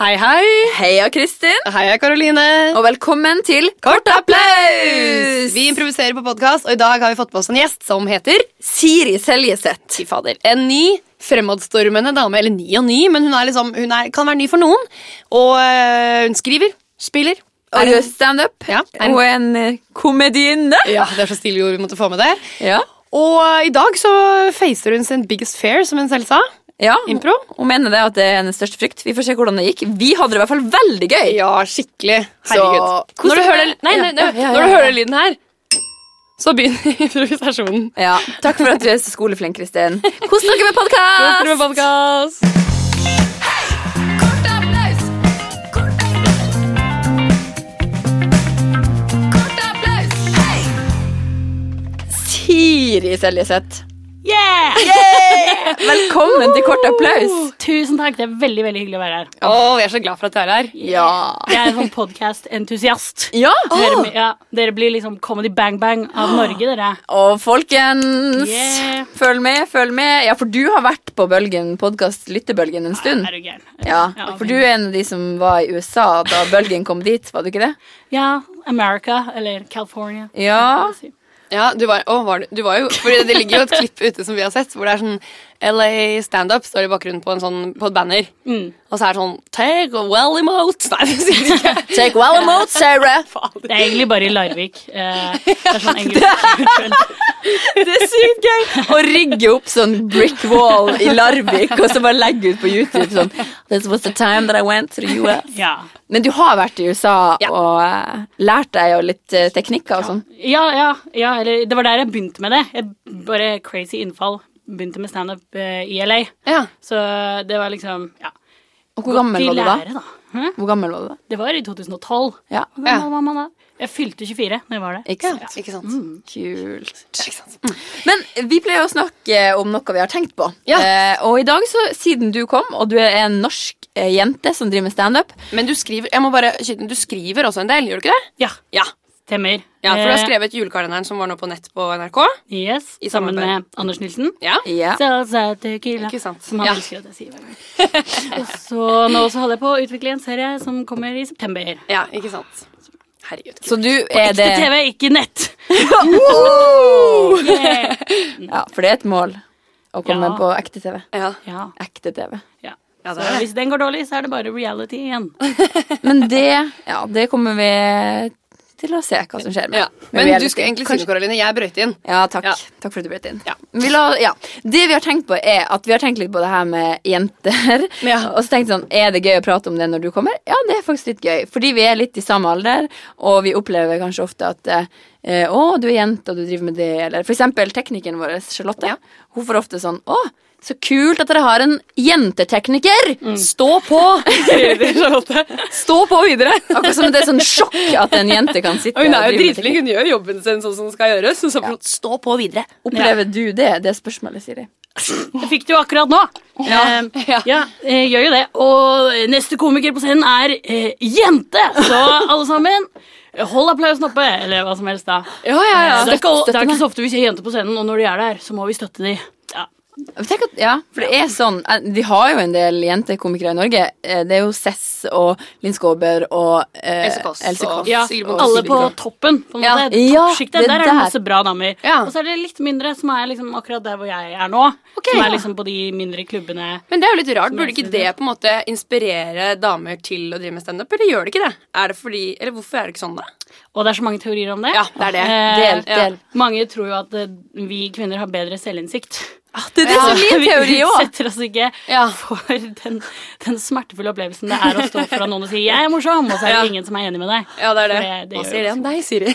Hei, hei. Heia, Kristin, Heia, Karoline. og velkommen til Kort applaus! Vi improviserer på podkast, og i dag har vi fått på oss en gjest som heter Siri Seljeseth. Fy fader. En ny fremadstormende dame. Eller ny og ny, men hun, er liksom, hun er, kan være ny for noen. Og øh, hun skriver, spiller. Er Og en- gjør standup. Ja, er en- Og en eh, komedienne. Ja, Det er så stilige ord vi måtte få med det. Ja. Og øh, i dag så facer hun sin biggest fair, som hun selv sa. ja. Impro. Hun mener det at det er hennes største frykt. Vi får se hvordan det gikk. Vi hadde det i hvert fall veldig gøy. Ja, skikkelig. Så- Herregud. Når du hører, den- nei, nei, nei, Ja, ja, ja, når du ja. hører den lyden her, så begynner improvisasjonen. Ja. Takk for at du er så skoleflink, Kristin. Kos dere med podkast! Siri Seljeseth. Yeah! Velkommen til Kort applaus. Tusen takk, det er veldig veldig hyggelig å være her. Å, jeg er så glad for at du er her. Ja. Jeg er en sånn podkast-entusiast. Ja. Dere, ja, dere blir liksom Comedy Bang Bang av Norge, dere. Og folkens, Yeah. følg med, følg med. Ja, for du har vært på Bølgen podkast Lyttebølgen en stund. Er du gæren? Ja, For du er en av de som var i USA da Bølgen kom dit, var du ikke det? Ja, America, eller California. Ja. Ja, du var, å, var du, du var jo Fordi det ligger jo et klipp ute som vi har sett, hvor det er sånn LA standup står i bakgrunnen på, en sånn, på et banner. Og så er det sånn Take a well emote. Nei, det sier de ikke. Take well remote, Sarah. Det er egentlig bare i Larvik. Eh, det er sånn engelsk Det er sykt gøy. Å rigge opp sånn brick wall i Larvik og så bare legge ut på YouTube sånn This was the time that I went to the US. ja. Men du har vært i USA Ja. og eh, lært deg jo litt eh, teknikker og sånn. ja, ja, ja. Eller det var der jeg begynte med det. Jeg bare crazy innfall. Begynte med standup eh, i LA. Ja. Så det var liksom ja. Og hvor gammel Godt i var du da? lære, da. Hæ? Hvor gammel var du da? Det var i 2012. Ja. Hvor gammel var man da? Jeg fylte 24 når jeg var det. Ikke sant? Ikke sant? Kult. Ja, ikke sant? Mm. Men vi pleier å snakke om noe vi har tenkt på. Ja. Eh, og i dag, så, siden du kom, og du er en norsk eh, jente som driver med standup Men du skriver jeg må bare skyte inn, Du skriver også en del, gjør du ikke det? Ja, Ja. stemmer. ja for du har Eh, skrevet julekalenderen som var nå på nett på NRK. Yes, i sammen samarbeid. med Anders Nilsen. Ja. ja. Så søt tequila. Ikke sant? Som han Ja. elsker at jeg sier hver gang. Og så nå så holder jeg på å utvikle en serie som kommer i september. ja ikke sant? Herregud. Så du er Ekte det TV, ikke nett. Wow! Yeah. Ja, for det er et mål å komme Ja. på ekte TV. Ja. Ja, Ekte TV. ja. Ja, det Så er det. hvis den går dårlig, så er det bare reality igjen. Men det, ja, det kommer vi til å se hva som skjer med. Ja. med Men du reality. skal egentlig si Kanskje- noe, Karoline. Jeg brøyt inn. Ja, takk. Ja. Takk for at du brøt inn. Ja. Vi la, ja. Det vi har tenkt på, er at vi har tenkt litt på det her med jenter. Ja. Og så tenkte jeg sånn, er det gøy å prate om det når du kommer? Ja, det er faktisk litt gøy. Fordi vi er litt i samme alder, og vi opplever kanskje ofte at eh, å, du er jente, og du driver med det, eller for eksempel teknikeren vår, Charlotte. Hun får ofte sånn, å, så kult at dere har en jentetekniker! Mm. Stå på! Stå på videre! Akkurat som det er sånn sjokk at en jente kan sitte Og hun er jo drive med dritflink. Hun gjør jobben sin sånn som den skal gjøres. Så sånn, Stå på videre. teknikk. Opplever du det? Det er spørsmålet, Siri. Det fikk du jo akkurat nå. Ja, ja. eh, gjør jo det. Og neste komiker på scenen er eh, jente! Så alle sammen, hold applausen oppe, eller hva som helst, da. Ja, ja, ja. det, er ikke, det støtte er meg. ikke så ofte vi ser jenter på scenen, og når de er der, så må vi støtte de. Ja. Men Tenk at, ja, for det er sånn eh, Vi har jo en del jentekomikere i Norge. Eh, Det er jo Cess og Linn Skåber og eh, Else Kåss og- Kåss. Ja, og alle Sigrid på Bonde. toppen. på en Ja. måte. Ja, Toppsjiktet. det Der er det der. masse bra damer. Ja. Og så er det litt mindre, som er liksom akkurat der hvor jeg er nå. som ja. er liksom på de mindre klubbene. Men det er jo litt rart. Burde ikke det på en måte inspirere damer til å drive med standup? Eller gjør det ikke det? Er det fordi, eller Hvorfor er det ikke sånn, da? Og det er så mange teorier om det. Ja, det er det. Del, Eh, del. Mange tror jo at eh, vi kvinner har bedre selvinnsikt. Ah, Det er det som er min teori Vi òg! utsetter oss ikke Ja. for den, den smertefulle opplevelsen det er å stå foran noen og si 'jeg er morsom', og så er det Ja. ingen som er enig med deg. Ja, det er det. For det- det Hva gjør sier det det om deg, Siri?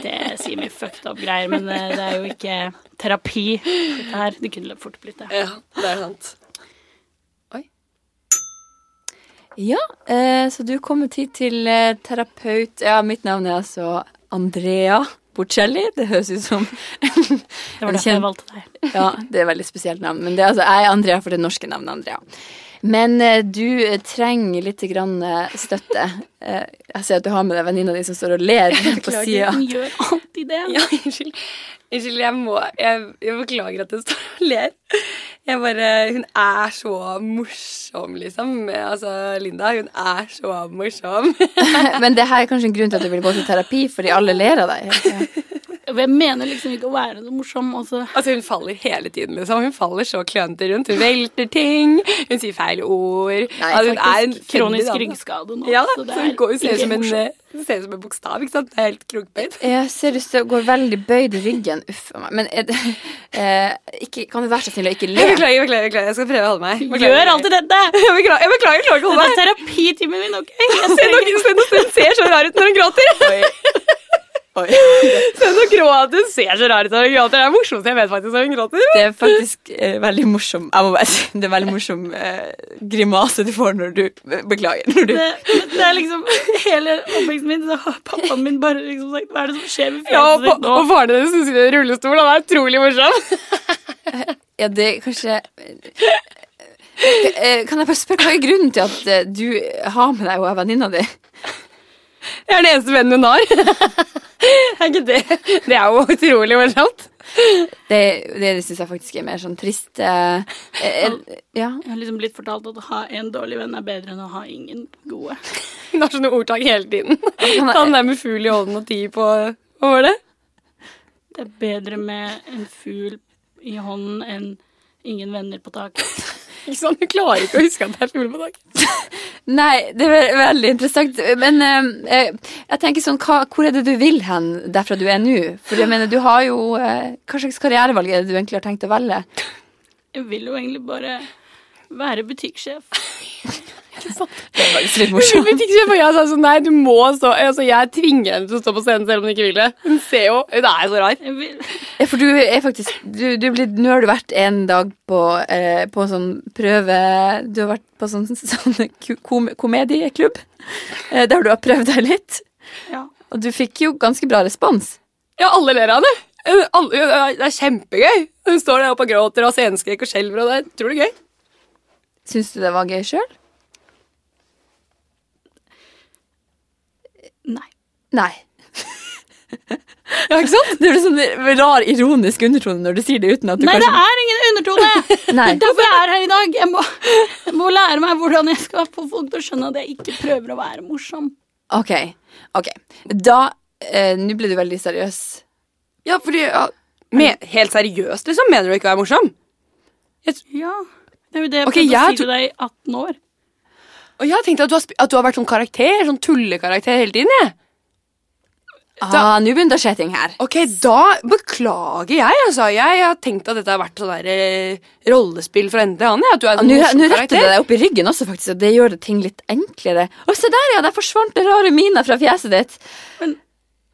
Det sier mye fucked up-greier, men eh, det er jo ikke terapi. dette her. Det kunne fort blitt det. ja, det er sant. Ja, eh, så du kom hit til eh, terapeut Ja, mitt navn er altså Andrea Bocelli. Det høres ut som Det var derfor jeg valgte deg. Ja, det er et veldig spesielt navn. Men det er altså, jeg er Andrea for det norske navnet Andrea. Men eh, du eh, trenger litt grann, eh, støtte. Eh, jeg ser at du har med deg venninna di som står og ler på sida. Hun gjør alltid det. Ja, unnskyld. Unnskyld, jeg må Jeg, jeg beklager at jeg står og ler. Jeg bare, hun er så morsom, liksom. Altså, Linda, hun er så morsom. Men det her er kanskje en grunn til at du vil gå til terapi, fordi alle ler av deg. Jeg mener liksom ikke å være så morsom. Også. Altså, Hun faller hele tiden, liksom. Hun faller så klønete rundt. Hun velter ting. Hun sier feil ord. Nei, altså, hun er en Kronisk feddig dame. ryggskade nå. Ja, så så Altså, det hun er går, hun ser ut ikke som, en, morsomt. eh, hun ser ut som en bokstav, ikke sant? Det er helt krokbeint. Jeg ser du så- går veldig bøyd i ryggen. Uff a meg. Men er det, eh, ikke, kan du være så snill å ikke Jeg le? beklager, beklager, beklager. Jeg skal prøve å holde meg. Beklager, Gjør beklager. alltid dette! Jeg beklager, jeg beklager, jeg klarer ikke å Dette holde er meg. terapitimen min, OK? Jeg Se, ser nå, ikke- se, nå- hun ser så rar ut når hun gråter. Se, nå gråter. Hun ser så rar ut når hun gråter. Det er det morsomste jeg vet faktisk når hun gråter. Det er faktisk eh, veldig morsom Jeg må bare si det er veldig morsom eh, grimase du får når du eh, Beklager. Når du, det, det er liksom Hele oppveksten min så har pappaen min bare liksom sagt Hva er det som skjer med Ja, og, fjeset ditt pa- og altså nå? faren hennes som sitter i rullestol, han er utrolig morsom. ja, det er kanskje Eh, Kan jeg bare spørre, hva er grunnen til at eh, du har med deg hun er venninna di? Jeg er den eneste vennen hun har. er ikke det? Det er jo utrolig morsomt. Det, det syns jeg faktisk er mer sånn trist. eh, eh, eh, ja. Jeg har liksom blitt fortalt at å ha en dårlig venn er bedre enn å ha ingen gode. Hun har sånne ordtak hele tiden. Han er- Han der med fugl i hånden og ti på Hva var det? Det er bedre med en fugl i hånden enn ingen venner på taket. Ikke sant? Hun klarer ikke å huske at det er fugl på dagen. Nei, det er ve- veldig interessant. Men eh, eh, jeg tenker sånn, hva, hvor er det du vil hen derfra du er nå? For jeg mener, du har jo eh, Hva slags karrierevalg er det du egentlig har tenkt å velge? Jeg vil jo egentlig bare være butikksjef. Det er faktisk litt Hun vet ikke, for jeg sa sånn, nei, du må stå Altså, jeg tvinger henne til å stå på scenen selv om hun ikke vil det. Hun ser jo Hun er så rar. Jeg vil, Ja, for du er faktisk du, du er blitt, Nå har du vært en dag på, eh, på sånn prøve Du har vært på sånn, sånn ku- kom, komedieklubb, eh, der du har prøvd deg litt. ja. Og du fikk jo ganske bra respons. Ja, alle ler av henne. Hun- alle- hun- Det er kjempegøy. Hun står der oppe og gråter og har sceneskrekk og skjelver, og det er utrolig gøy. Syns du det var gøy sjøl? Nei. Nei. ja, ikke sant? Det blir sånn rar ironisk undertone når du sier det uten at du Nei, det kanskje er ingen undertone! Nei, Det er Derfor jeg er her i dag. Jeg må, jeg må lære meg hvordan jeg skal få folk til å skjønne at jeg ikke prøver å være morsom. OK. ok. Da eh, Nå ble du veldig seriøs. Ja, fordi ja, men, Helt seriøst, liksom? Mener du ikke å være morsom? Ja. Det er jo det jeg Ok, prøvde jeg å si til deg i 18 år. Og jeg tenkte at du har, sp- at du har vært sånn karakter, sånn tullekarakter hele tiden. jeg. Ah, Nå begynner det å skje ting her. Ok, da beklager jeg, altså. Jeg har tenkt at dette har vært sånn der eh, rollespill fra ende til annen. jeg, At du er Ja, en Ah, Nå morsom nå retter du karakter. deg opp i ryggen også, faktisk, og det gjør det ting litt enklere. Å, se der, ja! Der forsvant det rare mina fra fjeset ditt.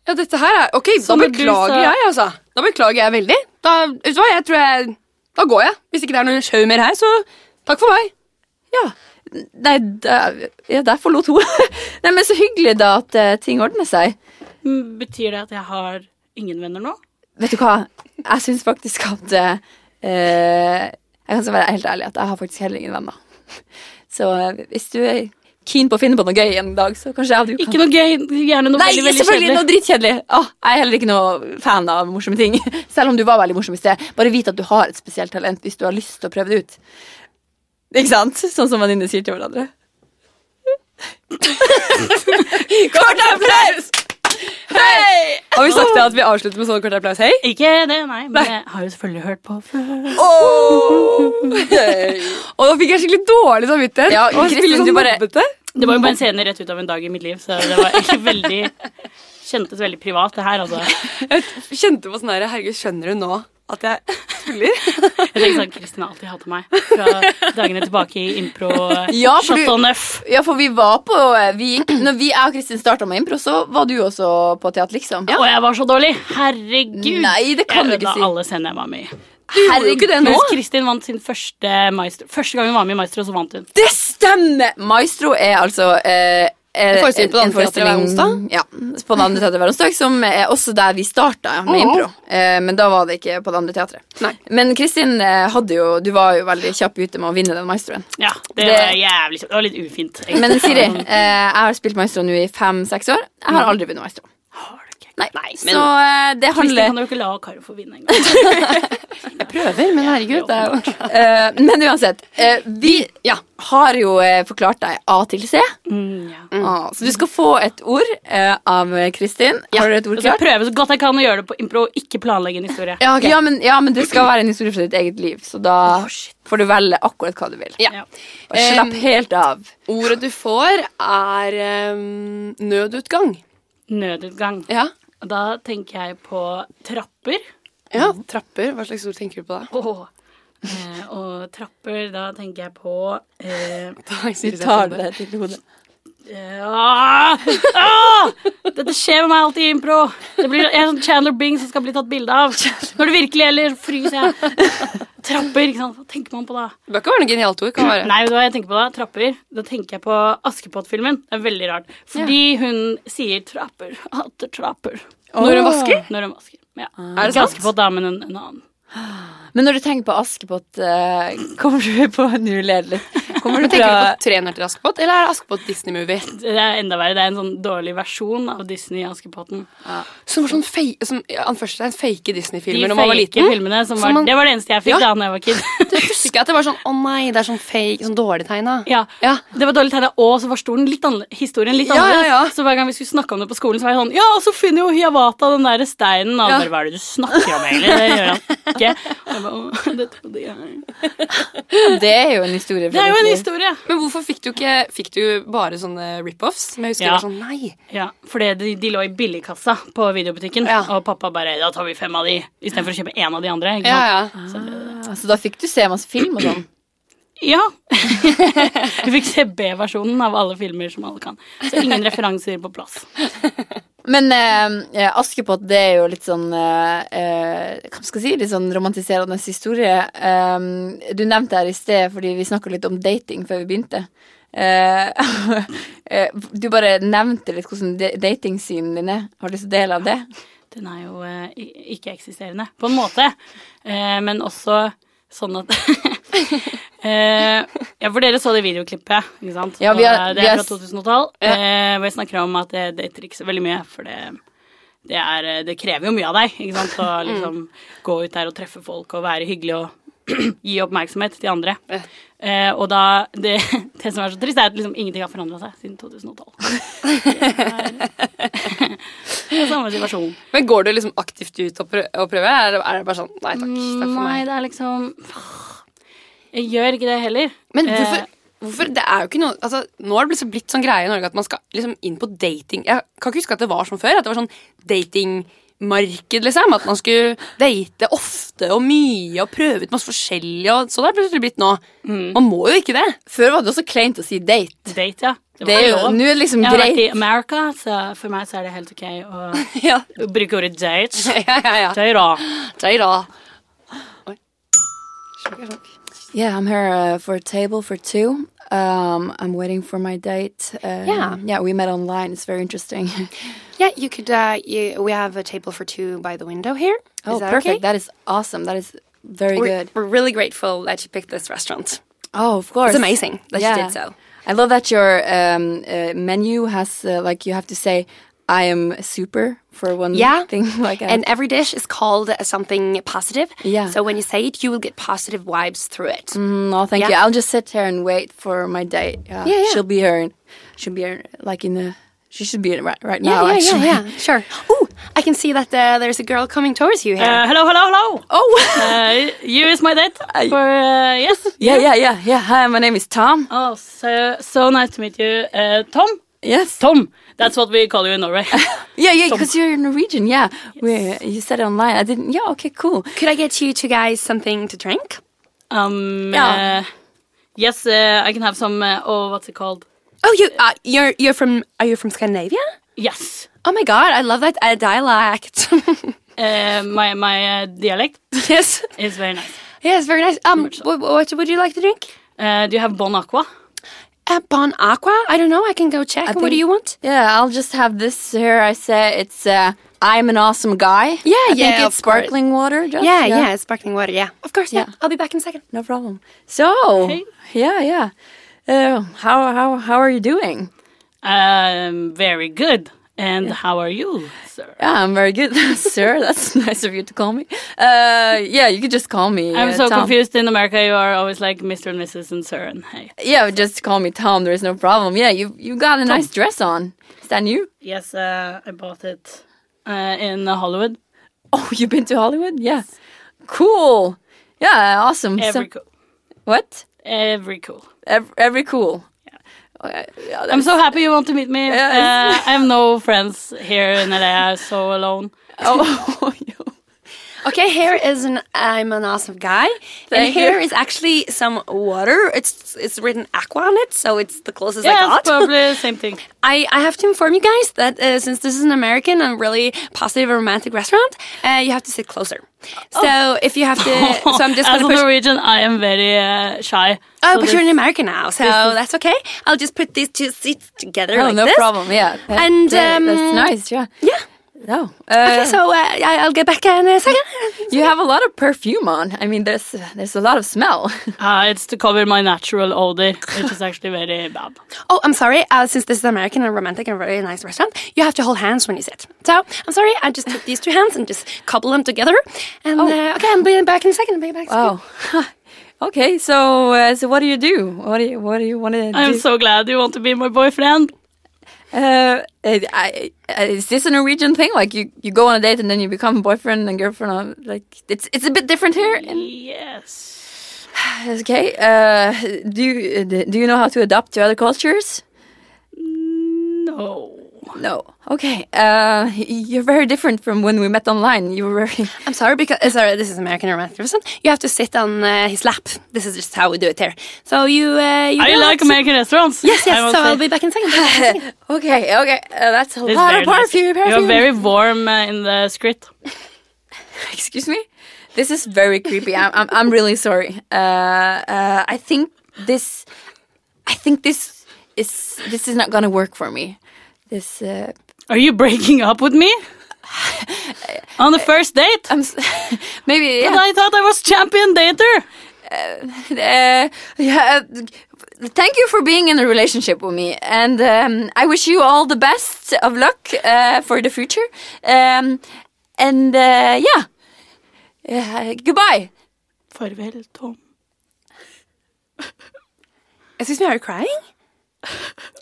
Ja, dette her er Ok, Som da du beklager sa- jeg, altså. Da beklager jeg veldig. Da, vet du hva, jeg tror jeg Da går jeg. Hvis ikke det er noe sjau mer her, så takk for meg. Ja. Nei, der, ja, der forlot hun. Nei, men så hyggelig, da, at eh, ting ordner seg. Mm, Betyr det at jeg har ingen venner nå? Vet du hva? Jeg syns faktisk at eh, eh, Jeg kan så være helt ærlig at jeg har faktisk heller ingen venner. Så eh, hvis du er keen på å finne på noe gøy en dag, så kanskje jeg og du kan Ikke noe gøy, gjerne noe Nei, veldig, veldig selvfølgelig! Noe kjedelig. drittkjedelig. Åh, jeg er heller ikke noe fan av morsomme ting. Selv om du var veldig morsom i sted. Bare vit at du har et spesielt talent hvis du har lyst til å prøve det ut. Ikke sant? Sånn som venninner sier til hverandre. Kort applaus! Hei! Har vi sagt det at vi avslutter med sånn kort applaus? Hei! Ikke det, nei, men jeg har jo selvfølgelig hørt på før. Og da fikk jeg skikkelig dårlig samvittighet. Ja, og Kristin, spille du sånn bare- mobbete. Det var jo bare en scene rett ut av en dag i mitt liv, så det var ikke veldig Kjentes veldig privat, det her, altså. Jeg kjente på sånn her Herregud, skjønner du nå at jeg tuller? Jeg tenker sånn, Kristin har alltid hatt meg fra dagene tilbake i impro. Ja, for du- Chateau Neuf. Ja, for vi var på eh, vi gikk, Når vi, jeg og Kristin starta med impro, så var du også på teater, liksom. Og jeg var så dårlig. Herregud. Nei, det kan du jeg ikke si. alle scenene jeg var med i. Herregud, ikke det nå? Mens Kristin vant sin første maestro. Første gang hun var med i Maestro, så vant hun. Det stemmer! Maestro er altså eh, er En forestilling på en- Danseteatret en hver forestilling- Ja, på det andre teatret hver onsdag, som er også der vi starta med Mhm. impro. Eh, men da var det ikke på det andre teatret. Nei. Men Kristin eh, hadde jo Du var jo veldig kjapp ute med å vinne den maestroen. Ja, det, Det- var jævlig kjipt. Det var litt ufint. egentlig. Men Siri, eh, jeg har spilt maestro nå i fem-seks år. Jeg har aldri vunnet maestro. Har du ikke? Nei. men- så eh, det Kristin handler kan jo ikke la Karo få vinne engang. Jeg prøver, men herregud, det er jo eh, Men uansett. eh, vi Ja. har jo eh, forklart deg A til C. Mm, ja. Ah, så du skal få et ord eh, av Kristin. Har du et ord Jeg skal klart? prøve så godt jeg kan å gjøre det på impro og ikke planlegge en historie. Ja, ok. Ja, men, ja, men det skal være en historie fra ditt eget liv, så da får du velge akkurat hva du vil. Ja. Ja. Og slapp helt av. Ordet du får, er ehm, nødutgang. Nødutgang. Ja. Og Da tenker jeg på trapper. ja. Trapper. Hva slags ord tenker du på da? Åh. Eh, og trapper, da tenker jeg på eh, Du tar det til hodet. eh, ah, ah! Dette skjer med meg alltid i impro. Det blir, jeg er sånn Chandler Bing som skal bli tatt bilde av. Når det virkelig gjelder, fryser jeg. Trapper, ikke sant. Hva tenker man på da? Det bør ikke være noe genialt ord. kan det være Nei, vet du hva jeg tenker på da? Trapper. Da tenker jeg på Askepott-filmen. Det er veldig rart. Fordi hun sier trapper, hatter trapper. Når hun vasker? Når hun vasker. Ja. Er det Ikke sant? Askepott, da, men en, en annen. Men når du tenker på Askepott, eh, kommer du på Nå ler du litt. Kommer du Tenker du fra på Tre nøtter til Askepott, eller er det Askepott Disney-movie? Det er enda verre. Det er en sånn dårlig versjon av Disney Askepotten. Som var sånn fei- som, ja, anførselstegn, fake De Disney-filmer når man var fake liten. filmene som Som var man- Det var det eneste jeg Ja. fikk da når jeg var kid. Det husker jeg at det var sånn Å nei, det er sånn fake, sånn dårlig tegna. Ja. Ja. Det var dårlig tegna, og så var stolen litt annerle- historien litt Ja, ja, annerledes. ja. Så hver gang vi skulle snakke om det på skolen, så var jeg sånn Ja, og så finner jo Hiawata den der steinen. Og Ja. han bare, hva er det du snakker om, egentlig? Det gjør han ikke. Og jeg bare, «Åh, det trodde jeg. Det er jo en historie. fra Det er jo ditt en liv. historie. Men hvorfor fikk du ikke Fikk du bare sånne rip-offs? Men jeg husker Ja. det var sånn Nei. Ja, fordi de, de lå i billigkassa på videobutikken, Ja. og pappa bare Da tar vi fem av de, istedenfor å kjøpe én av de andre. Ikke Ja, sant? ja. Ah, Så da fikk du se masse film og sånn. Ja. Vi fikk se B-versjonen av alle filmer som alle kan. Så ingen referanser på plass. Men eh, eh, Askepott, det er jo litt sånn eh, eh, Hva skal jeg si? Litt sånn romantiserende historie. Eh, du nevnte her i sted, fordi vi snakka litt om dating før vi begynte. Eh, eh, du bare nevnte litt hvordan de- datingscenen din er. Har du lyst til å dele av det? Den er jo eh, i- ikke-eksisterende, på en måte. Eh, men også sånn at eh, Ja, for dere så det videoklippet, ikke sant? Ja, vi har- Og det er vi fra har- 2012, eh, hvor jeg snakker om at det dater ikke så veldig mye, for det det, er, eh, det krever jo mye av deg, ikke sant? Å Mm. liksom gå ut der og treffe folk og være hyggelig og gi oppmerksomhet til andre. Eh, og da det, det som er så trist, er at liksom ingenting har forandra seg siden 2012. Det er samme situasjon. Men går du liksom aktivt ut og prø- og prøver? Er det- er det bare sånn Nei takk. Takk for Nei, meg. det er liksom Jeg gjør ikke det heller. Men Eh, hvorfor, hvorfor Det er jo ikke noe altså, Nå har det blitt, blitt sånn greie i Norge at man skal liksom inn på dating Jeg kan ikke huske at det var sånn før. At det var sånn datingmarked, liksom. At man skulle date ofte og mye og prøve ut masse forskjellig. Og sånn har det plutselig blitt nå. Mm. Man må jo ikke det. Før var det også kleint å si date. Eh, Date, ja. Det var Det er jo, lov. nå er det liksom Jeg har vært i greit. America, så for meg så er det helt ok å ja, bruke ordet date. ja, ja. ja. Date, da. Deg da. Oi. Slukk, slukk. Yeah, I'm here uh, for a table for two. Um, I'm waiting for my date. Um, Yeah. we met online. It's very interesting. Yeah, you could. Uh, you, we have a table for two by the window here. Is oh, that perfect. okay? That is awesome. That is very we're, good. We're really grateful that you picked this restaurant. Oh, of course. It's amazing that you did so. I love that your um, uh, menu has, uh, like, you have to say, I am super for one Yeah. thing. Like, I- And every dish is called uh, something positive. Yeah. So when you say it, you will get positive vibes through it. uh, "Mm, no, thank you. Yeah. I'll just sit here and wait for my date. Yeah, Yeah, yeah. She'll be here. In, she'll be here, like, in the. She should be in right, right Yeah, now, yeah, actually. yeah, yeah. Sure. Oh, I can see that uh, there's a girl coming towards you here. Eh, hello, hello, hello. Oh, Eh, you is my date. For, eh, yes. yeah, yeah, yeah, yeah. Hi, my name is Tom. Oh, so, so nice to meet you. Eh, Tom. Yes. Tom. That's what we call you in Norway. Yeah, yeah, because you're Norwegian. Yeah, we, you said it online. I didn't. Yeah, okay, cool. Could I get you two guys something to drink? Um, Ja. eh, yes, eh, I can have some eh, Oh, what's it called? Oh, you uh, you're you're from are you from Scandinavia? Yes. Oh my god, I love that uh, dialect. Eh, my my eh, dialect yes, is very nice. yes, very nice. Um, what, what would you like to drink? Eh, do you have Bon Aqua? Uh, bon Aqua? I don't know. I can go check. what do think- you want? Yeah, I'll just have this here. I say it's. Uh, I'm an awesome guy. Yeah, I think yeah, it's of course. sparkling water. Just, Yeah, yeah, it's sparkling water. Yeah, of course. Yeah. Yeah. I'll be back in a second. no problem. So, yeah, yeah. Uh, how how how are you doing? Um, very good. And how are you, sir? Yeah, I'm very good, sir. That's nice of you to call me. Uh, yeah, you could just call me. I'm uh, so Tom. confused. In America, you are always like Mr. and Mrs. and sir and hey. Yeah, just call me Tom. There is no problem. Yeah, you you got a nice dress on. Is that new? Yes, uh, I bought it uh, in Hollywood. Oh, you've been to Hollywood? Yeah. Cool. Yeah, awesome. Every So- cool. what? Every cool. Every, every cool. Yeah. yeah I'm so happy you want to meet me. Uh, Yes. I have no friends here in LA. I'm so alone. oh, Okay, here is an I'm an awesome guy, and Thank here you. is actually some water. It's it's written aqua on it, so it's the closest I Yes, got. probably same thing. I, I have to inform you guys that uh, since this is an American and really positive and romantic restaurant, uh, you have to sit closer. So if you have to, so I'm just As going a to push. Norwegian, I am very uh, shy. Oh, So but this- you're an American now, so that's okay. I'll just put these two seats together Oh, like no this. problem. Yeah. And, Yeah, that's um, nice. Yeah. Yeah. No. Uh, Okay, so uh, I- I'll get back in a second. you have a lot of perfume on. I mean, there's there's a lot of smell. Uh, it's to cover my natural odor, which is actually very bad. Oh, I'm sorry. Uh, since this is American and romantic and really nice restaurant, you have to hold hands when you sit. So I'm sorry. I just took these two hands and just couple them together. And Oh. uh, okay, I'm being back in a second. I'm being back. in a second. oh. okay. So uh, so what do you do? What do you what do you want to do? I'm so glad you want to be my boyfriend. Uh, I, I- I- is this a Norwegian thing? Like you, you go on a date and then you become boyfriend and girlfriend. uh, Like it's it's a bit different here. Mm. in- Yes. okay. Uh, do you uh, do you know how to adapt to other cultures? No. No. Okay. Uh, you're very different from when we met online. You were very. I'm sorry because uh, sorry. This is American romantic restaurant. You have to sit on uh, his lap. This is just how we do it here. So you, uh, you I go like out- American restaurants. Yes, I yes. must So say. I'll be back in a second. I'll be back in a second. Okay. Okay. Uh, that's a It's lot very of perfume. nice. perfume. You're very warm uh, in the script. Excuse me. This is very creepy. I'm I'm, I'm really sorry. Uh, uh, I think this, I think this is this is not gonna work for me. This. Uh, Are you breaking up with me? On the first date? I'm s- maybe But yeah. I thought I was champion dater. Uh, yeah. uh, Thank you for being in a relationship with me, and um, I wish you all the best of luck uh, for the future. Um, and uh, yeah, uh, goodbye. Farvel, Tom. Excuse me, are you crying?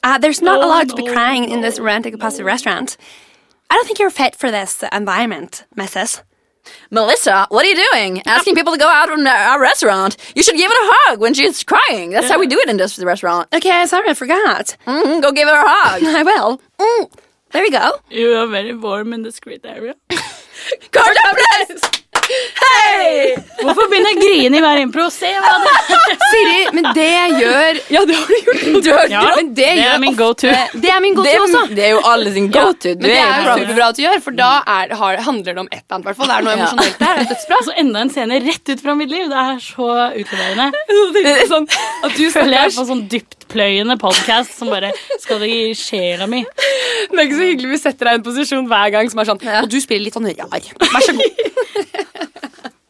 Uh, there's not No, allowed to be no, crying in this romantic passive restaurant. I don't think you're fit for this environment, Mrs. Melissa, what are you doing? Asking people to go out on our our restaurant. You should give her a hug when she's crying. That's how we do it in this restaurant. Okay, sorry, I forgot. Mm, go give her a hug. I will. Mm, there we go. You are very warm in the script area. Karta Bless! Hei! Hvorfor begynner jeg å grine i hver impro? Se hva det Siri, men det jeg gjør Ja, det har du gjort. Du har Ja, grått. det det gjør er min go-to. Det er min Det, godtid også. det er jo alle sin go-to. Du sånn- Men det er jo jo superbra at du gjør, for da er, har, handler det om et eller annet. hvertfall. Det er noe Ja. emosjonelt der. Det er dødsbra. Altså, enda en scene rett ut fra mitt liv. Det er så utleverende. Eh, sånn. At du føler jeg er på sånn dyptpløyende podcast som bare skal det i sjela mi. Det er ikke så hyggelig vi setter deg i en posisjon hver gang som er sånn Og du spiller litt sånn rar. Vær så god. Det er fint, det.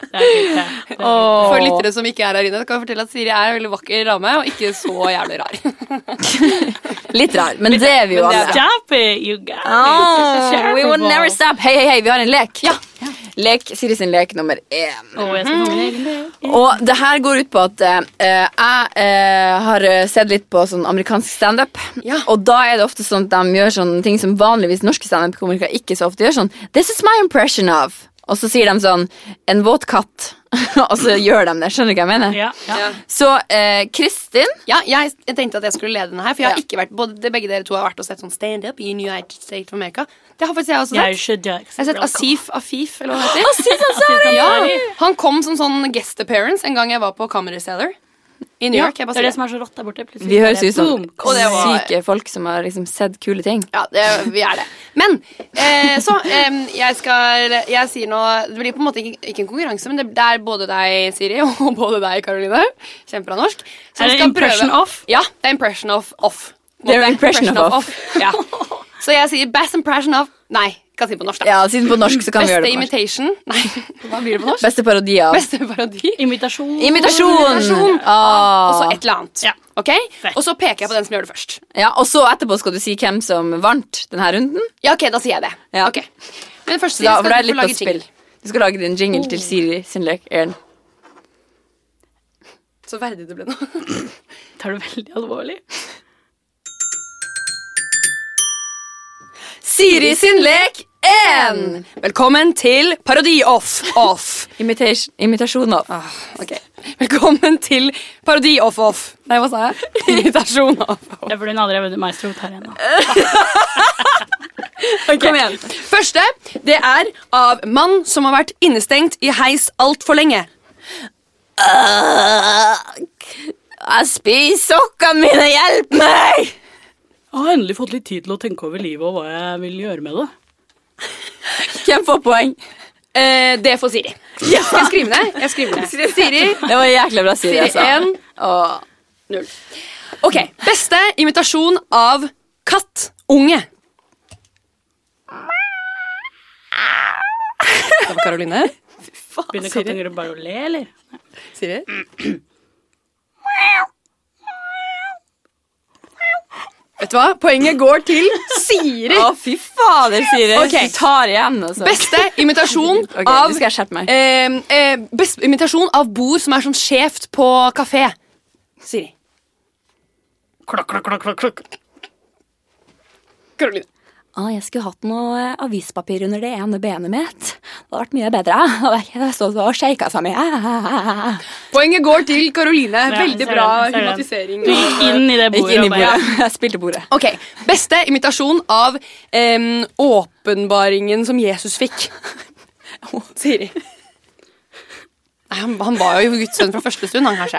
Det er- For lyttere som ikke er her inne, kan jeg fortelle at Siri er en veldig vakker dame, og ikke så jævlig rar. Litt rar, men det er vi jo men det er Ah, alle. Stop it, you guys. Oh, we will Terrible. never stop. Hei, hei, hei, vi har en lek. Lek, Siri sin lek nummer én. Å, jeg skal fange. Og det her går ut på at eh, jeg eh, har eh, sett litt på sånn amerikansk standup. Ja. Og da er det ofte sånn at de gjør sånne ting som vanligvis norske standup-komikere ikke så ofte gjør. sånn, This is my impression of. Og så sier de sånn En våt katt. og så gjør de det. Skjønner du hva jeg mener? Ja, ja. Så eh, Kristin Ja, jeg jeg tenkte at jeg skulle lede denne her, for jeg har Ja. ikke vært Både det- begge dere to har vært og sett sånn standup i United States of America. Det har faktisk jeg også Jeg sett. should do Jeg har sett Asif Afif, eller hva han heter. Sier sånn, «Sorry!» Ja, han kom som sånn guest appearance en gang jeg var på Comedy Cellar i New York. Jeg bare det sier er det det. som er så rått der borte. Plutselig Vi høres bare ut som boom. Og det var- syke folk som har liksom sett kule ting. Ja, det, vi er det. Men eh, så eh, Jeg skal Jeg sier nå Det blir på en måte ikke, ikke en konkurranse, men det, det er både deg, Siri, og både deg, Karoline. Kjempebra norsk. som Er det skal impression prøve- off? Ja. Det er impression of off. på en Det er måte. impression of Ja. Så jeg sier best impression of Nei, kan si det på norsk, da. Ja, Siden på norsk så kan vi Beste gjøre det på norsk. imitation Nei, hva blir det på norsk? Beste parodi av Beste parodi. Imitasjon. Imitasjon! Imitasjon. Ah. Og så et eller annet. Ja. Ok, ok? Fett. Og så peker jeg på den som gjør det først. Ja, Og så etterpå skal du si hvem som vant denne runden. Ja, ok, da sier jeg det. Ja. Ok. Men først Da, skal for da er du det få litt lage på spill. Oh. jingle. Du skal lage din jingle til Siri sin lek. Aaron. Så verdig du ble nå. Tar du veldig alvorlig? Siri sin lek 1! Velkommen til Parodi-off. Off. Imitation, imitasjon av. Ah, ok. Velkommen til Parodi-off-off. Nei, hva sa jeg? Invitasjon off-off. Det er fordi hun aldri har vunnet Maestro her igjen. da. Kom igjen. Første det er av mann som har vært innestengt i heis altfor lenge. Jeg spiser sokkene mine, hjelp meg! Jeg har endelig fått litt tid til å tenke over livet og hva jeg vil gjøre med det. Hvem får poeng? Eh, det får Siri. Skal jeg skrive ned? Jeg skriver ned. Siri Det var jækla bra, Siri. Siri Altså. 1. Åh. Ok. Beste imitasjon av kattunge. Det var Karoline. Begynner kattunger bare å le, eller? Siri. Vet du hva? Poenget går til Siri. Å, fy fader, Siri. Ok. Du tar igjen, altså. Beste imitasjon Ok, av nå skal jeg skjerpe meg. eh, eh, Best imitasjon av bord som er sånn skjevt på kafé. Siri. Klokk, klokk, klokk, klokk, klokk. Karoline. Å, Ah, jeg skulle hatt noe eh, avispapir under det ene benet mitt. Det hadde vært mye bedre. Jeg stod og shaka seg mye. Poenget går til Karoline. Ja, Veldig ser den, bra ser den. humatisering. Du gikk inn i det Ikke bordet inn i og bordet. bare Jeg spilte bordet. Ok, Beste imitasjon av em, åpenbaringen som Jesus fikk. Siri. Nei, han, han var jo Guds sønn fra første stund, han kanskje.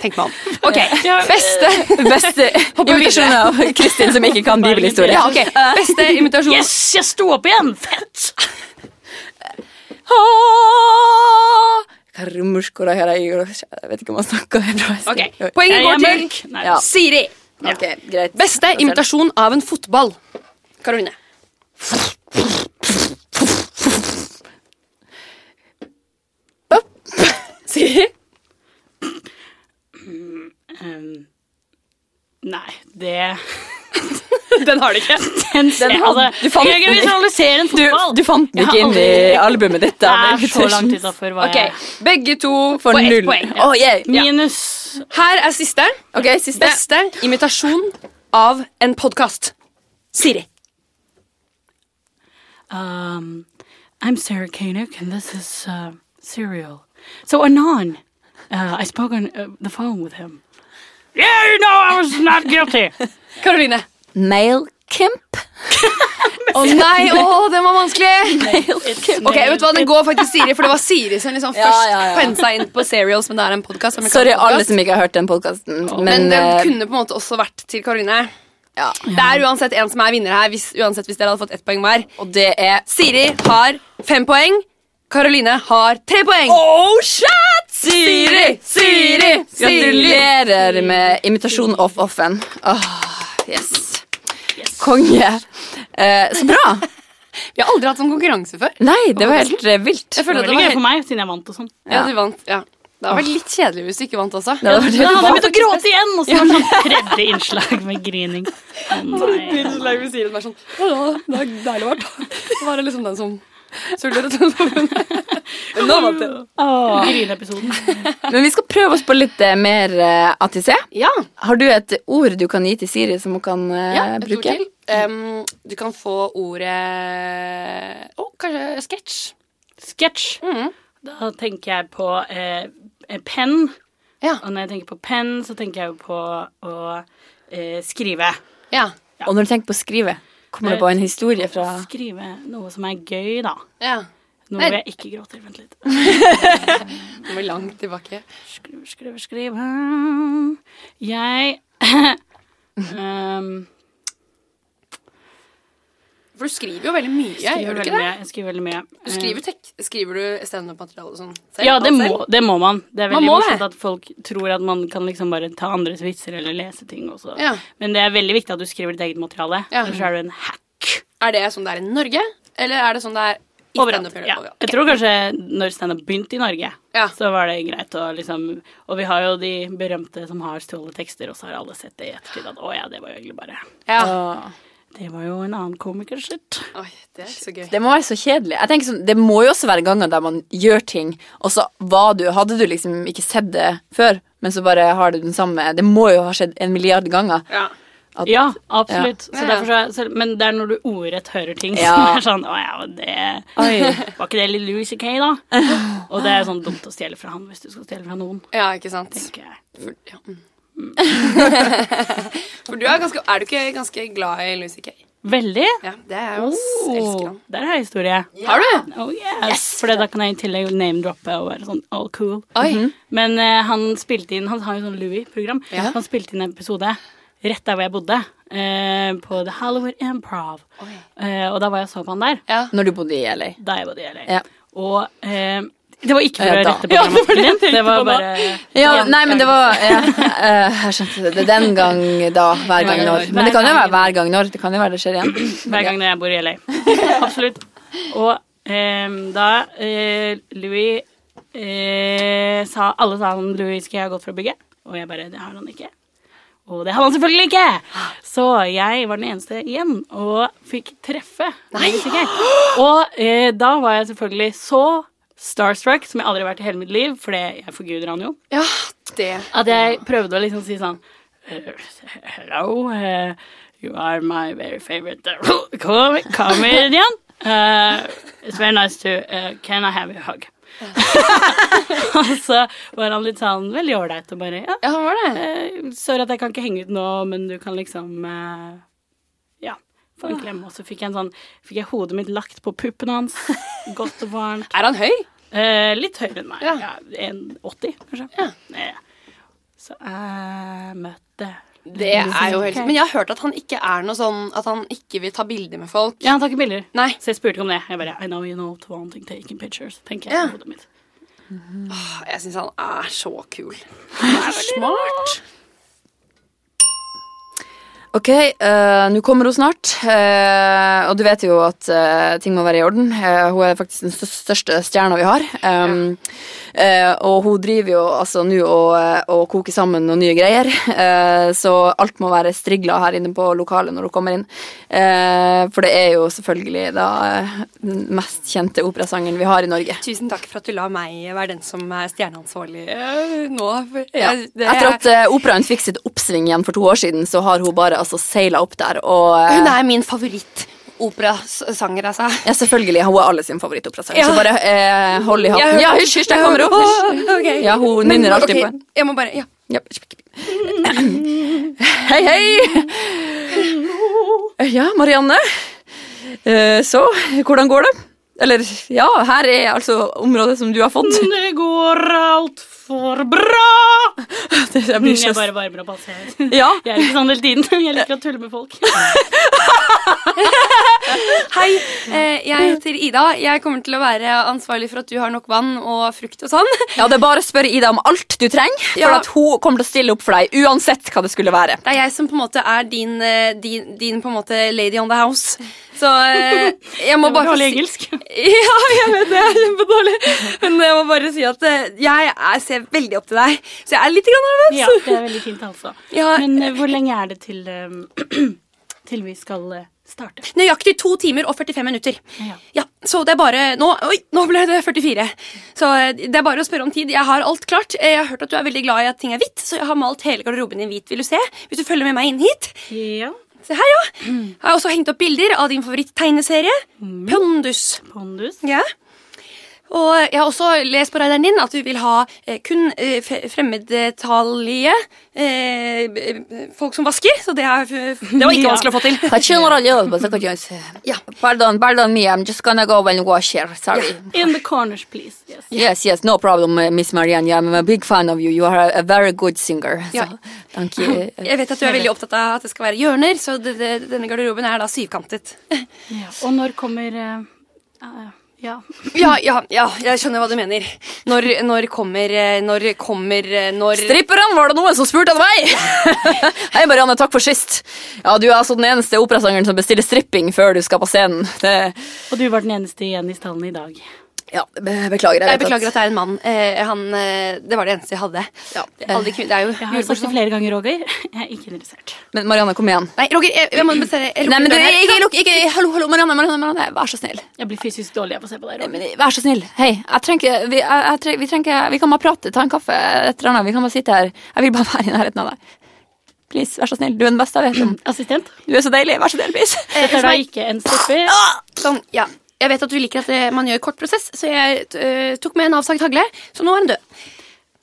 Tenk meg om. Ok, Ja, Beste Beste imitasjon av Kristin som ikke kan bibelhistorie. ja, ok, Beste imitasjon Yes, jeg sto opp igjen! Fett! Ah, karumuskora her er igor. Jeg vet ikke om han snakker hebraisk. Ok, Poenget Jeg er går til mørk. Nei. Ja. Siri. Ok, greit. Beste imitasjon av en fotball. Karoline. Siri. Um, nei, det Den har du ikke. Den, ser- had- altså, du fant Jeg kan den. visualisere en Du, fotball. du fant den Jeg har ikke inn i aldri- albumet ditt. Det da, med er så imitation. langt utafor hva Ok, jeg Begge to For får ett null. poeng. Å, yeah. Minus Her er siste. Ok, siste. Beste imitasjon av en podkast. Siri. um, I'm Sarah Koenig, and this is uh, Serial. So Anon, uh, I spoke on uh, the phone with him. Yeah, you know I was not guilty. Karoline. Male Kimp. Å nei, å, den var vanskelig! Ok, vet du hva, Den går faktisk Siri, for det var Siri som liksom Ja, først ja, ja. pensa inn på Serials. Men det er en podcast, amerikansk Sorry, alle podcast. som ikke har hørt den podkasten. Men, Men det eh, kunne på en måte også vært til Karoline. ja. Det er uansett en som er vinner her, hvis, uansett hvis dere hadde fått ett poeng hver. Og det er Siri har fem poeng. Karoline har tre poeng. Oh, shit! Siri, Siri, Siri. Gratulerer med imitasjon of offen. Åh, yes. Konge. Eh, så bra! Vi har aldri hatt sånn konkurranse før. Nei, det var helt eh, vilt. Jeg Det føler at var det veldig var gøy for helt... meg, siden jeg vant og sånn. Ja, du vant. Ja. Det hadde vært litt kjedelig hvis du ikke vant også. Det hadde vært Men helt han hadde bra. begynt å gråte igjen, og så var det sånn tredje innslag med grining. Å nei. Siri var sånn det er deilig å være Det var liksom den som suller Nå vant jeg. Åh, Grineepisoden. Men vi skal prøve oss på litt eh, mer eh, ATC. Ja. Har du et ord du kan gi til Siri som hun kan eh, ja et ord bruke? til. Em, du kan få ordet Å, kanskje sketsj. Sketsj. Mhm. Da tenker jeg på eh, eh, penn. Ja. Og når jeg tenker på penn, så tenker jeg jo på å eh, skrive. Ja. Eh, Og når du tenker på å skrive, kommer det på en historie fra Skrive noe som er gøy, da. ja. Nå Nei. vil jeg ikke gråte. Vent litt. Nå er vi langt tilbake. Skrive, skrive, skrive Jeg um, For du skriver jo veldig mye. skriver, gjør du veldig ikke det? mye. jeg skriver veldig mye. Eh, Du skriver, tek skriver du standup-materiale og sånn selv? Ja, det Alt selv? må, det må man. Det er Man veldig må morsomt det. at folk tror at man kan liksom bare ta andres vitser eller lese ting også. Ja. Men det er veldig viktig at du skriver ditt eget materiale. Ja. Ellers er du en hack. Er det sånn det er i Norge, eller er det sånn det er Overalt. standup gjør det. Ja. Overalt. Jeg tror kanskje når standup begynte i Norge, Ja. så var det greit å liksom Og vi har jo de berømte som har stjålet tekster, og så har alle sett det i ettertid at å ja, det var jo egentlig bare Ja. Åh. Det var jo en annen komiker sitt. Oi, det er så gøy. Det må være så kjedelig. Jeg tenker sånn, Det må jo også være ganger der man gjør ting, og så var du, hadde du liksom ikke sett det før, men så bare har du den samme Det må jo ha skjedd en milliard ganger. Ja. At, Ja, absolutt. Ja. Så Ja, ja. derfor så, er- så, men det er når du ordrett hører ting Ja. som er sånn Å ja, men det Oi. Var ikke det litt Louis C.K., da? Og det er sånn dumt å stjele fra han hvis du skal stjele fra noen. ja, ikke sant. tenker jeg. For, ja. mm. For du er ganske Er du ikke ganske glad i Lucy Kay? Veldig. Oh, Ja, det er jeg jo. ass. Elsker han. Der har jeg historie. Oh. Har du? Oh yes! For da kan jeg i tillegg name-droppe og være sånn all cool. Oi. Mhm. Men eh, han spilte inn Han har jo sånn Louis-program. Ja. Han spilte inn en episode rett der hvor jeg bodde, eh, på The Hollywood Improv. Eh, og da var jeg og så på han der. Ja. Når du bodde i LA. Da jeg bodde i LA. Ja. Og eh, det var ikke for Ja, å da. rette programmet din. Det var bare Ja, nei, men det var ja, eh, Jeg skjønte det. Det er den gang da, hver gang når. Men det kan jo være hver gang når. Det kan jo være det skjer igjen. hver gang jeg bor i LA. Absolutt. Og eh, da eh, Louis eh, sa Alle sa han Louis skal jeg ha gått fra bygget, og jeg bare Det har han ikke. Og det hadde han selvfølgelig ikke! Så jeg var den eneste igjen og fikk treffe. Louis CK. Og eh, da var jeg selvfølgelig så starstruck som jeg aldri har vært i hele mitt liv, for det- jeg forguder han jo. ja, det At jeg prøvde å liksom si sånn eh, Hello, eh, you are my very favorite eh, com- comedian. Eh, it's very nice to eh, Can I have a hug? og så var han litt sånn veldig ålreit og bare ja, Ja, han var det. eh, Sorry at jeg kan ikke henge ut nå, men du kan liksom eh, Ja, få en klem. Og så fikk jeg, en sånn, fikk jeg hodet mitt lagt på puppen hans. Godt og varmt. Er han høy? Eh, litt høyere enn meg. Ja. Ja. 1,80 kanskje. Eh, Så jeg møtte Det er jo helt Men jeg har hørt at han ikke er noe sånn At han ikke vil ta bilder med folk. Ja, han tar ikke bilder. Nei. Så jeg spurte ikke om det. Jeg bare I know you know to one thing taking pictures. tenker jeg Ja. i hodet mitt. Jeg syns han er så kul. Han er smart. Ok, eh, nå kommer hun snart. eh, og du vet jo at eh, ting må være i orden. Eh, hun er faktisk den stø- største stjerna vi har. Um, eh, og hun driver jo altså nå og, eh, og koker sammen noen nye greier. eh, så alt må være strigla her inne på lokalet når hun kommer inn. Eh, for det er jo selvfølgelig da eh, den mest kjente operasangeren vi har i Norge. Tusen takk for at du la meg være den som er stjerneansvarlig eh, nå. for Ja. jeg- det- Etter at eh, operaen fikk sitt oppsving igjen for to år siden, så har hun bare altså seila opp der og eh, Hun er min favoritt-operasanger, altså. Ja, selvfølgelig. Hun er alle sin favorittoperasanger. Ja. Så bare eh, hold i hatten. Jeg- Ja, hysj, hysj, der kommer hun! Hysj. Ok. Ja, hun Men, nynner alltid ok, på en. Jeg må bare Ja. Ja. Hei, hei! Ja, Marianne. Eh, så, hvordan går det? Eller, ja, her er altså området som du har fått. Mm. Det går altfor bra! Jeg blir så Jeg bare varmer opp alt jeg Ja. Jeg er ikke sånn hele tiden. Jeg liker å tulle med folk. Hei, eh, jeg heter Ida. Jeg kommer til å være ansvarlig for at du har nok vann og frukt og sånn. ja, det er bare å spørre Ida om alt du trenger, for Ja. at hun kommer til å stille opp for deg uansett hva det skulle være. Det er jeg som på en måte er din, eh, din, din på en måte lady on the house. Så eh, jeg må bare Jeg bare få holde si engelsk. Ja, jeg vet det. Jeg er kjempedårlig. Men jeg må bare si at eh, jeg er, ser veldig opp til deg, så jeg er litt grann nervøs. Ja, det er veldig fint, altså. Ja. Men eh, hvor lenge er det til, eh, til vi skal eh, starte? Nøyaktig to timer og 45 minutter. Ja. Ja, Så det er bare Nå oi, nå ble det 44. Så eh, det er bare å spørre om tid. Jeg har alt klart. Eh, Jeg har hørt at du er veldig glad i at ting er hvitt, så jeg har malt hele garderoben din hvit. Vil du se? Hvis du følger med meg inn hit. Ja. Se her, ja. Mm. Jeg har også hengt opp bilder av din favoritt-tegneserie, Pondus. Pondus. Ja. Og jeg har også lest på radaren din at du vil ha eh, kun eh, fe- fremmedtallige eh, b- b- folk som vasker, så det, er, f- det var ikke Ja. vanskelig å få til. Ja. Pardon, pardon me, I'm just gonna go and wash here, sorry. In the corners, please. Yes. Yes, yes, no problem, uh, Miss Marianne. I'm a big fan of you. You are a, a very good singer. So, Ja. thank you. Jeg vet at du er veldig opptatt av at det skal være hjørner, så det, det, denne garderoben er da syvkantet. Og når kommer eh, eh, Ja. Ja, ja, ja, jeg skjønner hva du mener. Når, når kommer eh, Når kommer eh, Når Stripperne var det noen som spurte av meg! Hei, Marianne, takk for sist. Ja, Du er altså den eneste operasangeren som bestiller stripping før du skal på scenen. Det, Og du var den eneste igjen i stallen i dag. ja, be- beklager. Jeg beklager at det er en mann. Eh, han, eh, det var det eneste jeg hadde. Ja. Alle de kvin- det er jo Jeg har sagt det julebord. flere ganger, Roger. Jeg er ikke interessert. Men Marianne, kom igjen. Nei, Roger, jeg, jeg må bestemme jeg Nei, men du, lukker døren her. ikke, ikke, ikke, hallo, hallo, Marianne, Marianne, Marianne, vær så snill. Jeg blir fysisk dårlig av å se på deg, Nei, Roger. men Vær så snill. Hei, jeg trenger ikke vi, jeg, jeg, trenger- vi, trenger ikke- vi kan bare prate, ta en kaffe, et eller annet. Vi kan bare sitte her. Jeg vil bare være i nærheten av deg. Please, vær så snill. Du er den beste jeg vet om. Assistent. Du er så deilig. Vær så snill, please. Dette Eh, er da ikke en stripper. Sånn, ja. Jeg vet at du liker at eh, man gjør kort prosess, så jeg eh, tok med en avsagt hagle. Så nå er han død.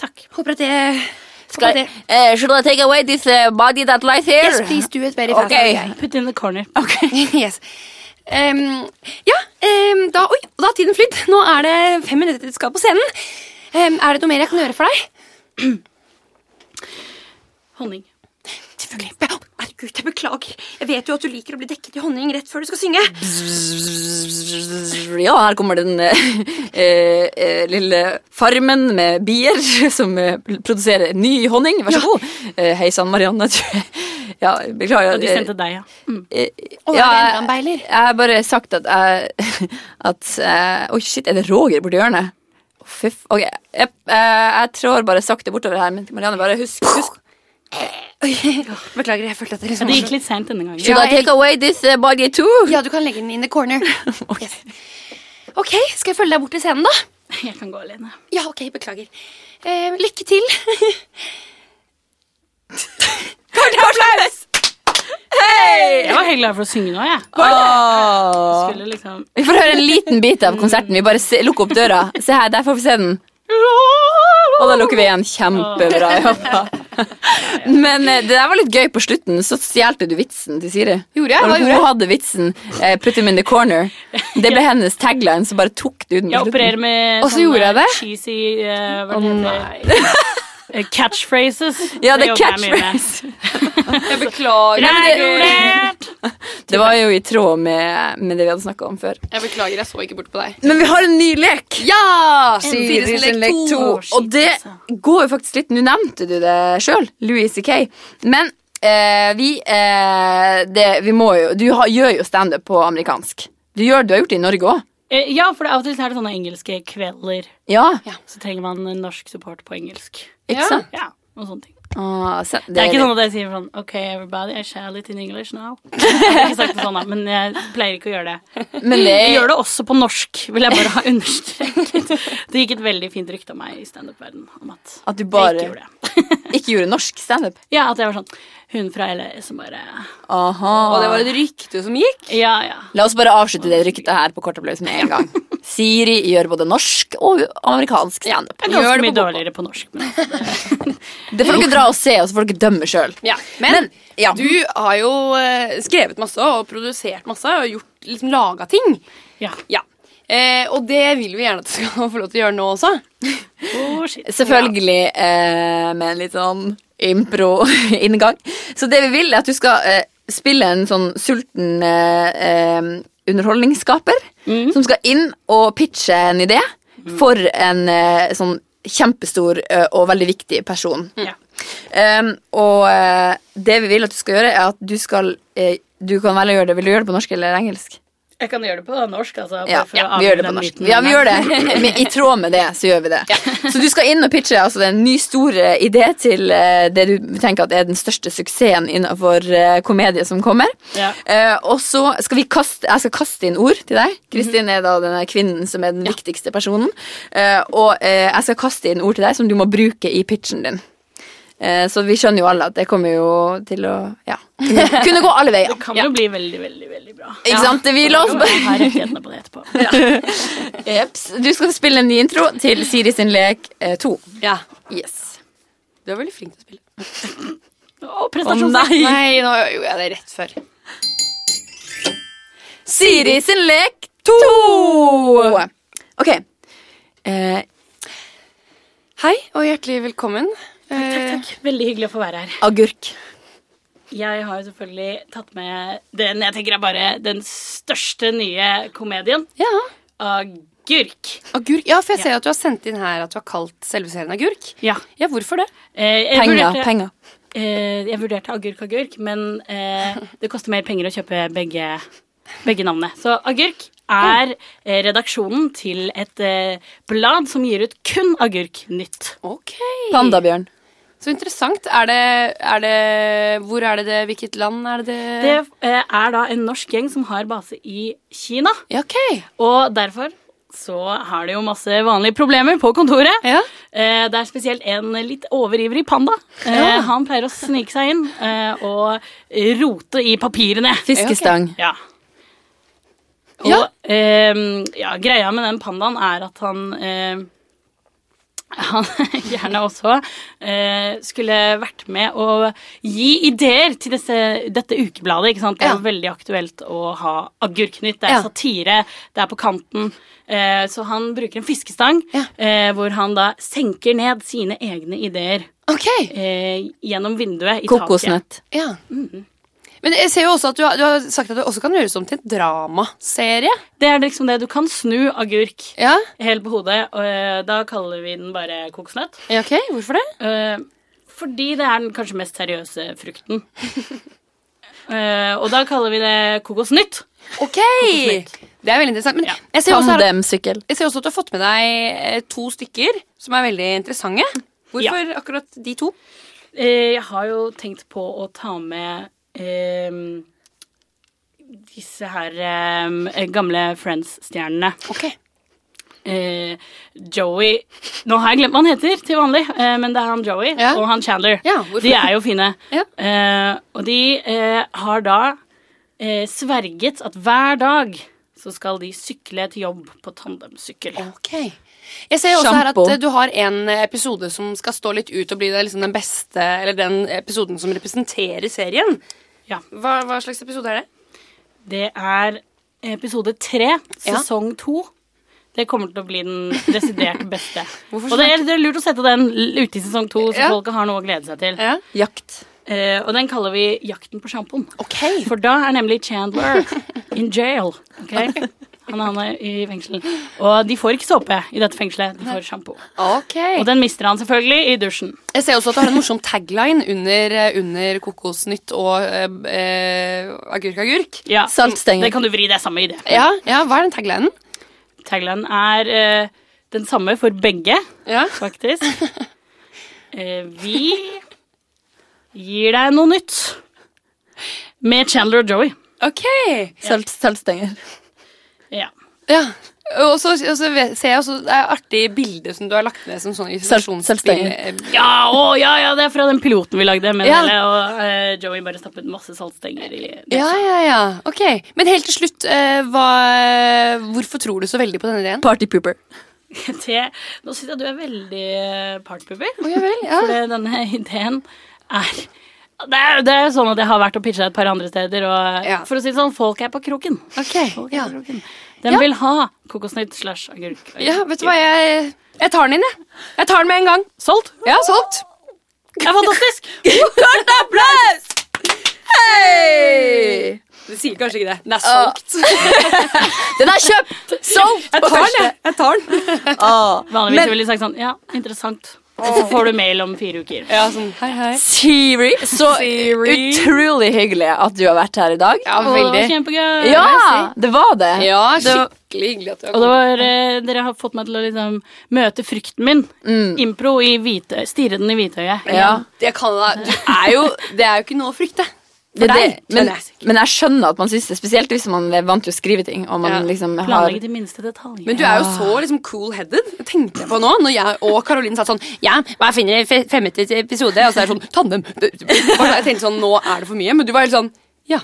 Takk. Håper at det håper at Skal, det eh, should I take away this eh, body that lies here? Yes, please do it very fast. Ok. Put in the corner. yes. Ehm, ja, ehm, da, oi, da har tiden flydd. Nå er det fem minutter til du skal på scenen. Ehm, er det noe mer jeg kan gjøre for deg? Honning. Selvfølgelig. Be- Å, Herregud, jeg beklager. Jeg vet jo at du liker å bli dekket i honning rett før du skal synge. Ja, her kommer den eh, eh, eh, lille farmen med bier som eh, produserer ny honning. Vær så god. Eh, Hei sann, Marianne. Du, ja, beklager. Og de sendte deg, ja. Mm. Eh, Og ja, det er jeg- en beiler. Jeg har bare sagt at jeg at, eh, Oi, shit, er det Roger borti hjørnet? Å, Fy f... Ok, jeg, eh, jeg trår bare sakte bortover her, men Marianne, bare husk, husk. Beklager, jeg følte at det Ja, liksom Det gikk litt seint denne gangen. Should I take away this eh, body too? Ja, du kan legge den in the corner. Yes. Ok, skal jeg følge deg bort til scenen, da? Jeg kan gå alene. Ja, ok, beklager. Eh, lykke til. Applaus! Jeg var helt glad for å synge nå, jeg. Åh. Skulle liksom Vi får høre en liten bit av konserten. Vi bare se, lukker opp døra. Se her, der får vi se den. Og da lukker vi igjen. Kjempebra jobba. Men eh, det der var litt gøy på slutten. Så stjelte du vitsen til Siri. Gjorde jeg? Og Hva gjorde jeg? Hun hadde vitsen. eh, Put him in the corner. Det ble hennes tagline, så bare tok du den Jeg på opererer slutten. med Og så gjorde jeg eh, det. cheesy eh, Hva heter det? Eh, Catchphrases. Ja, det er jobber jeg mye med. catchphrase. Jeg beklager. Regulert! Det var jo i tråd med, med det vi hadde snakka om før. Jeg beklager, jeg så ikke bort på deg. Men vi har en ny lek! Ja! Siri Siris sin lek lek to. to. Å, shit, Og det går jo faktisk litt Nå nevnte du det sjøl, Louis C.K. Men eh, vi, eh, det, vi må jo Du har, gjør jo standup på amerikansk. Du, gjør, du har gjort det i Norge òg. Eh, Ja, for av og til så er det sånne engelske kvelder. Ja, Så trenger man en norsk support på engelsk. Ja. ikke sant? Ja, og sånne ting. Ah, se- det, Det er ikke litt- sånn at jeg sier sånn OK, everybody, I shall it in English now. Jeg har ikke sagt det sånn, da, men jeg pleier ikke å gjøre det. Men det, Jeg gjør det også på norsk, vil jeg bare ha understreket. Det gikk et veldig fint rykte om meg i standup-verdenen om at at du bare jeg ikke ikke gjorde, gjorde det. norsk standup. Ja, at jeg var sånn Hun fra LA som bare Aha. Og det var et rykte som gikk. Ja, ja. La oss bare avslutte det ryktet her på kort applaus med en gang. Siri gjør både norsk og amerikansk standup. Det er Gjør ganske det mye på- dårligere på norsk. Men Det får dere dra og se, og så får dere dømme sjøl. Ja, men, Men, ja. du har jo eh, skrevet masse og produsert masse og gjort, liksom laga ting. ja. Ja. Eh, og det vil vi gjerne at du skal få lov til å gjøre nå også. Oh, shit. Selvfølgelig eh, med en litt sånn impro-inngang. Så det vi vil, er at du skal eh, spille en sånn sulten eh, eh, underholdningsskaper som skal inn og pitche en idé for en eh, sånn kjempestor eh, og veldig viktig person. Ja. Um, og eh, det vi vil at du skal gjøre, er at du skal eh, Du kan velge å gjøre det. Vil du gjøre det på norsk eller engelsk? Jeg kan gjøre det på norsk, altså. bare Ja, for å ja, vi gjør avlive det på den norsk. myten. Ja, vi gjør det. Men I tråd med det, så gjør vi det. Så du skal inn og pitche altså, det er en ny, stor eh, idé til eh, det du tenker at er den største suksessen innenfor eh, komedie som kommer. Ja. Eh, og så skal vi kaste Jeg skal kaste inn ord til deg. Kristin er da denne kvinnen som er den viktigste personen. Eh, og eh, jeg skal kaste inn ord til deg som du må bruke i pitchen din. Eh, så vi skjønner jo alle at det kommer jo til å ja, kunne gå alle veier. Det kan jo bli veldig, veldig, veldig bra. Ikke sant? Vi la oss Jeg bare har rettighetene på det etterpå. Jeps. Du skal spille en ny intro til Siri sin lek 2. Ja. yes. Du er veldig flink til å spille. Å, Å prestasjons... nei! Nei, nå gjorde jeg det rett før. Siri sin lek 2! Ok. Eh, Hei og hjertelig velkommen. Takk, takk. Veldig hyggelig å få være her. agurk. Jeg har jo selvfølgelig tatt med den jeg tenker er bare den største nye komedien. Ja. agurk. Agurk? Ja, for jeg ser at du har sendt inn her at du har kalt selve serien agurk. Ja. Ja, hvorfor det? Eh, jeg Penger, vurderte- penger. Eh, jeg vurderte agurk-agurk, men eh, det koster mer penger å kjøpe begge, begge navnene. Så agurk er eh, redaksjonen til et eh, blad som gir ut kun agurk-nytt. Ok. Pandabjørn. Så interessant. Er det, er det Hvor er det det? Hvilket land er det det? Det eh, er da en norsk gjeng som har base i Kina, Ja, ok. og derfor så har de jo masse vanlige problemer på kontoret. Ja. Eh, det er spesielt en litt overivrig panda. Eh, Han pleier å snike seg inn eh, og rote i papirene. Fiskestang. Ja. Og Ja. ehm, ja, greia med den pandaen er at han ehm, han gjerne også eh, skulle vært med å gi ideer til disse, dette ukebladet. ikke sant? Det er Ja. jo veldig aktuelt å ha Agurknytt. Det er Ja. satire, det er på kanten. Eh, så han bruker en fiskestang Ja. eh, hvor han da senker ned sine egne ideer Ok. eh, gjennom vinduet i taket. Kokosnøtt. Ja. Men jeg ser jo også at du har, du har sagt at det også kan gjøres om til en dramaserie. Det er liksom det. Du kan snu agurk. Ja. Helt på hodet. Og eh, da kaller vi den bare kokosnøtt. ja, ok. Hvorfor det? Eh, Fordi det er den kanskje mest seriøse frukten. Eh, Og da kaller vi det kokosnytt. Ok! Det er veldig interessant. Men Ja. jeg, ser jo også her, Tandemsykkel. jeg ser også at du har fått med deg eh, to stykker som er veldig interessante. Hvorfor akkurat de to? Eh, Jeg har jo tenkt på å ta med eh, disse her eh, gamle Friends-stjernene. Ok. Eh, Joey Nå har jeg glemt hva han heter til vanlig, eh, men det er han Joey Ja. og han Chandler. Ja, hvorfor? de er jo fine. Ja. Eh, og de eh, har da eh, sverget at hver dag så skal de sykle til jobb på tandemsykkel. Ok. Jeg ser jo også her at Shampoo. eh, du har en eh, episode som skal stå litt ut og bli det, liksom den beste, eller den episoden som representerer serien. Ja. Hva, hva slags episode er det? Det er episode tre, Ja. sesong to. Det kommer til å bli den desidert beste. Hvorfor og det er, det er lurt å sette den l- ute i sesong to, så Ja. folk har noe å glede seg til. Ja. Jakt. Eh, og den kaller vi Jakten på sjampoen. Ok. For da er nemlig Chandler in jail. ok? Han er, han er i fengsel. Og de får ikke såpe i dette fengselet. De får sjampo. Ok. Og den mister han selvfølgelig i dusjen. Jeg ser også at du har en morsom tagline under, eh, under Kokosnytt og eh, eh, Agurk agurk. Ja, Saltstenger. Det kan du vri, det er samme idé. Ja, ja, hva er den taglinen? Taglinen er eh, den samme for begge, Ja. faktisk. Eh, vi gir deg noe nytt. Med Chandler og Joey. Ok. Salt, saltstenger. Ja. Ja. Og så, og så ve- ser jeg også det er artige bilder som du har lagt ned som sånn sånne isolasjonsbilder. selvstenger. Ja, å, ja, ja, det er fra den piloten vi lagde. Men Ja. Nelle og eh, Joey bare stappet masse saltstenger i nesa. Ja, ja, ja. Ok. Men helt til slutt, eh, hva, hvorfor tror du så veldig på denne ideen? Partypooper. Det, nå syns jeg du er veldig eh, partpupper. Å, ja vel, ja. For det- denne ideen er det er, det er jo sånn at jeg har vært og pitcha et par andre steder, og Ja. for å si det sånn, folk er på kroken. Ok, Folk er ja. på kroken. De vil ha kokosnøtt slash agurk. ja, vet du hva, jeg, jeg tar den inn, jeg. Jeg tar den med en gang. Solgt! Ja, solgt. Det er fantastisk! Kort applaus! Hei! Det sier kanskje ikke det. Den er solgt. Den er kjøpt! Ah. Solgt! Jeg tar den, jeg. jeg. tar den. Vanligvis Men- ville de sagt sånn Ja, interessant. Og så får du mail om fire uker. Ja, sånn, hei, hei. Siri, så Siri. utrolig hyggelig at du har vært her i dag. Ja, Og det var veldig. kjempegøy. Ja, det var det. Ja, skikkelig hyggelig at du har Og det kommet. var, eh, dere har fått meg til å liksom møte frykten min. Mm. Impro i hvitøy. Stirre den i hvitøyet. Ja. Det kan da, du er jo, det er jo ikke noe å frykte. Det, det, deg, men, kjenner jeg. men jeg skjønner at man syns det, spesielt hvis man er vant til å skrive ting. Og man Ja. liksom har Planlegge til minste detalj. Men du er jo så liksom cool-headed, tenkte jeg på nå, når jeg og Caroline satt sånn Ja, hva finner dere i femte episode? Og så er det sånn tandem. Bare så- Jeg tenkte sånn, nå er det for mye. Men du var helt sånn Ja.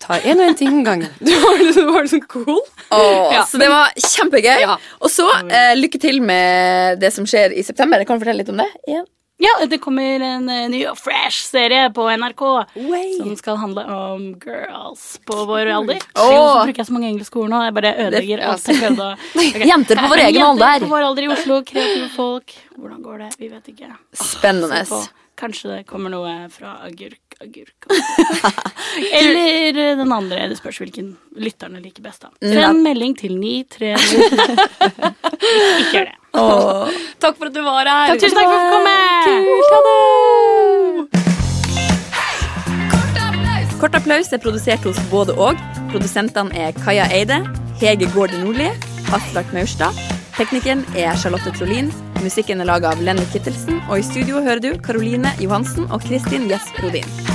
Ta en og en ting om gangen. Du var liksom, du var liksom cool. Åh, Ja, Så det var kjempegøy. Ja. Og så eh, lykke til med det som skjer i september. Kan du fortelle litt om det? igjen? Ja, det kommer en eh, ny og fresh serie på NRK Way. som skal handle om girls på vår alder. Åh. Hvorfor bruker jeg så mange engelske ord nå? Jeg bare ødelegger Det- alt jeg prøvde å Ok. Jenter på vår Men egen Jenter alder. på vår alder i Oslo, kreative folk. Hvordan går det? Vi vet ikke. Spennende. Så kanskje det kommer noe fra agurk, ikke agurk. Eller eh, den andre. Det spørs hvilken lytterne liker best. da. Send melding til 930 Ikke gjør det. Takk for at du var her. Takk, tusen takk for at du komme. Kult, ha det! Kort applaus er produsert hos både og. Produsentene er Kaja Eide, Hege Gårde Nordli, Aslak Maurstad. Teknikeren er Charlotte Trolin. Musikken er laga av Lenny Kittelsen. Og i studio hører du Karoline Johansen og Kristin Gjess Rodin.